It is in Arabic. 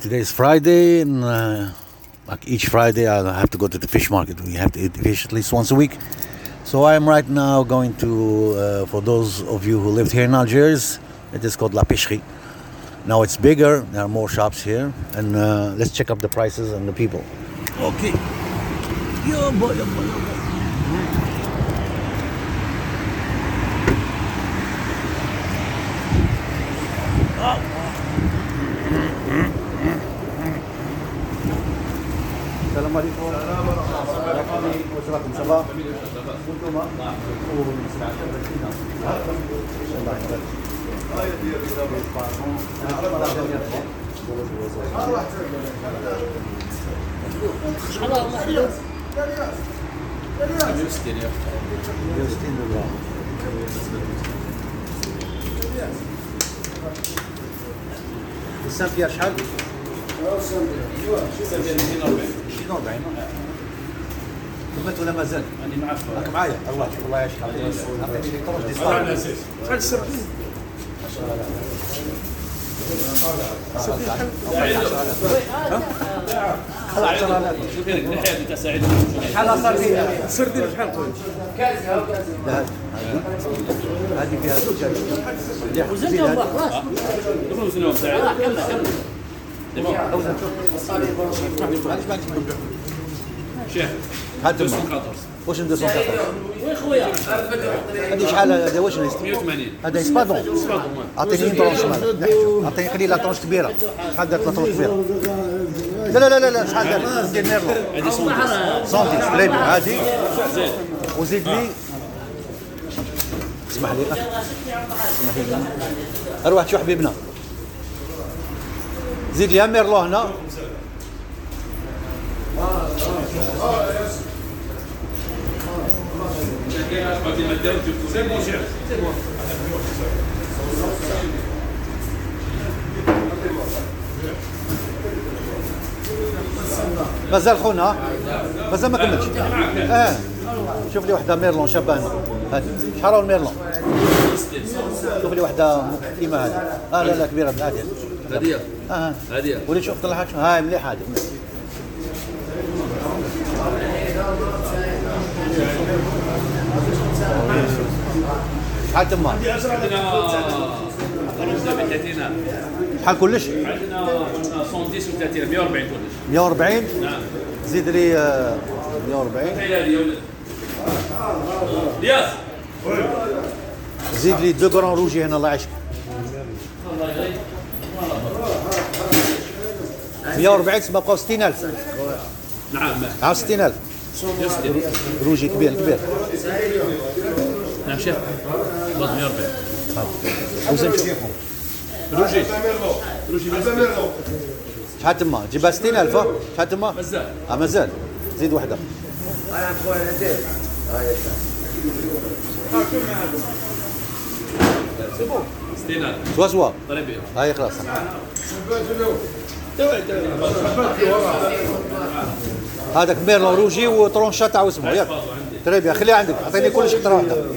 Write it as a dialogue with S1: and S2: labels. S1: today is Friday, and uh, like each Friday, I have to go to the fish market. We have to eat fish at least once a week. So I am right now going to, uh, for those of you who lived here in Algiers, it is called La Pêcherie. Now it's bigger. There are more shops here, and uh, let's check up the prices and the people. Okay. Yo, boy, yo, boy, yo, boy. السلام عليكم وصلكم شباب كلكم السام فيها شحال؟ شنو قاعد كملت ولا مازال؟
S2: اللي معاه في
S1: راك معايا الله شوف الله يشحال عطيني لي طرش ديسطار
S2: الاساس شحال السر شوف هنا الناحيه اللي تساعد
S1: شحال صار فيها؟
S2: السر ديال شحال قول
S1: هذه هذه فيها زوج هذه
S3: وزنت واحد راس
S2: دخلوا سنه ساعه
S3: كمل كمل
S1: معليش معليش
S2: شيخ
S1: هات تما.
S2: 214
S1: واش ندوز هذه
S3: وين خويا
S1: شحال هذا واش نست-
S2: 180
S1: هذا اسبادون اعطيني طرونش مال نحجو. اعطيني قليله طرونش كبيره شحال دارت لا طرونش كبيره لا لا لا لا لا شحال دارت ندير ميرلو
S2: هذه صندوق
S1: صوتي بليبي هذه
S2: زين
S1: وزيد لي اسمح لي أخ. اسمح لي اروح شو حبيبنا زيد لي ميرلو هنا
S2: بعدين ما داروا تشوفوا سي بون شيخ سي بون
S1: مازال خونا مازال ما كملتش اه شوف لي وحده ميرلون شابه هنا هذه شحال راهو الميرلون شوف لي وحده كيما هذه اه لا لا كبيره بالعادي
S2: هديه
S1: اه
S2: هديه
S1: وليت شوف طلع هاك شو- هاي مليحه هذه شحال تما
S2: عندنا 30
S1: شحال كلش
S2: عندنا 110 و 30 140 كلش
S1: 140
S2: نعم
S1: زيد لي آه، 140
S2: هاي هذه يا ولد الياس
S1: زيد لي دو كرون روجي هنا الله يعيشك 140 تسمى بقاو 60000
S2: نعم
S1: عام 60000
S2: يسدي
S1: روجي كبير كبير
S2: نعم شيخ بس 140
S1: وزن شوف.
S2: روجي روجي يسدي
S1: شحال تما جيبها 60000 ها؟ شحال تما
S2: مازال.
S1: اه مازال زيد وحده
S2: ستينات
S1: سوا سوا
S2: طريبي
S1: هاي خلاص هذاك ميرلون روجي وترونشا تاع واسمه ياك
S2: عندي
S1: تري بيان خليها عندك اعطيني كلش قطره واحده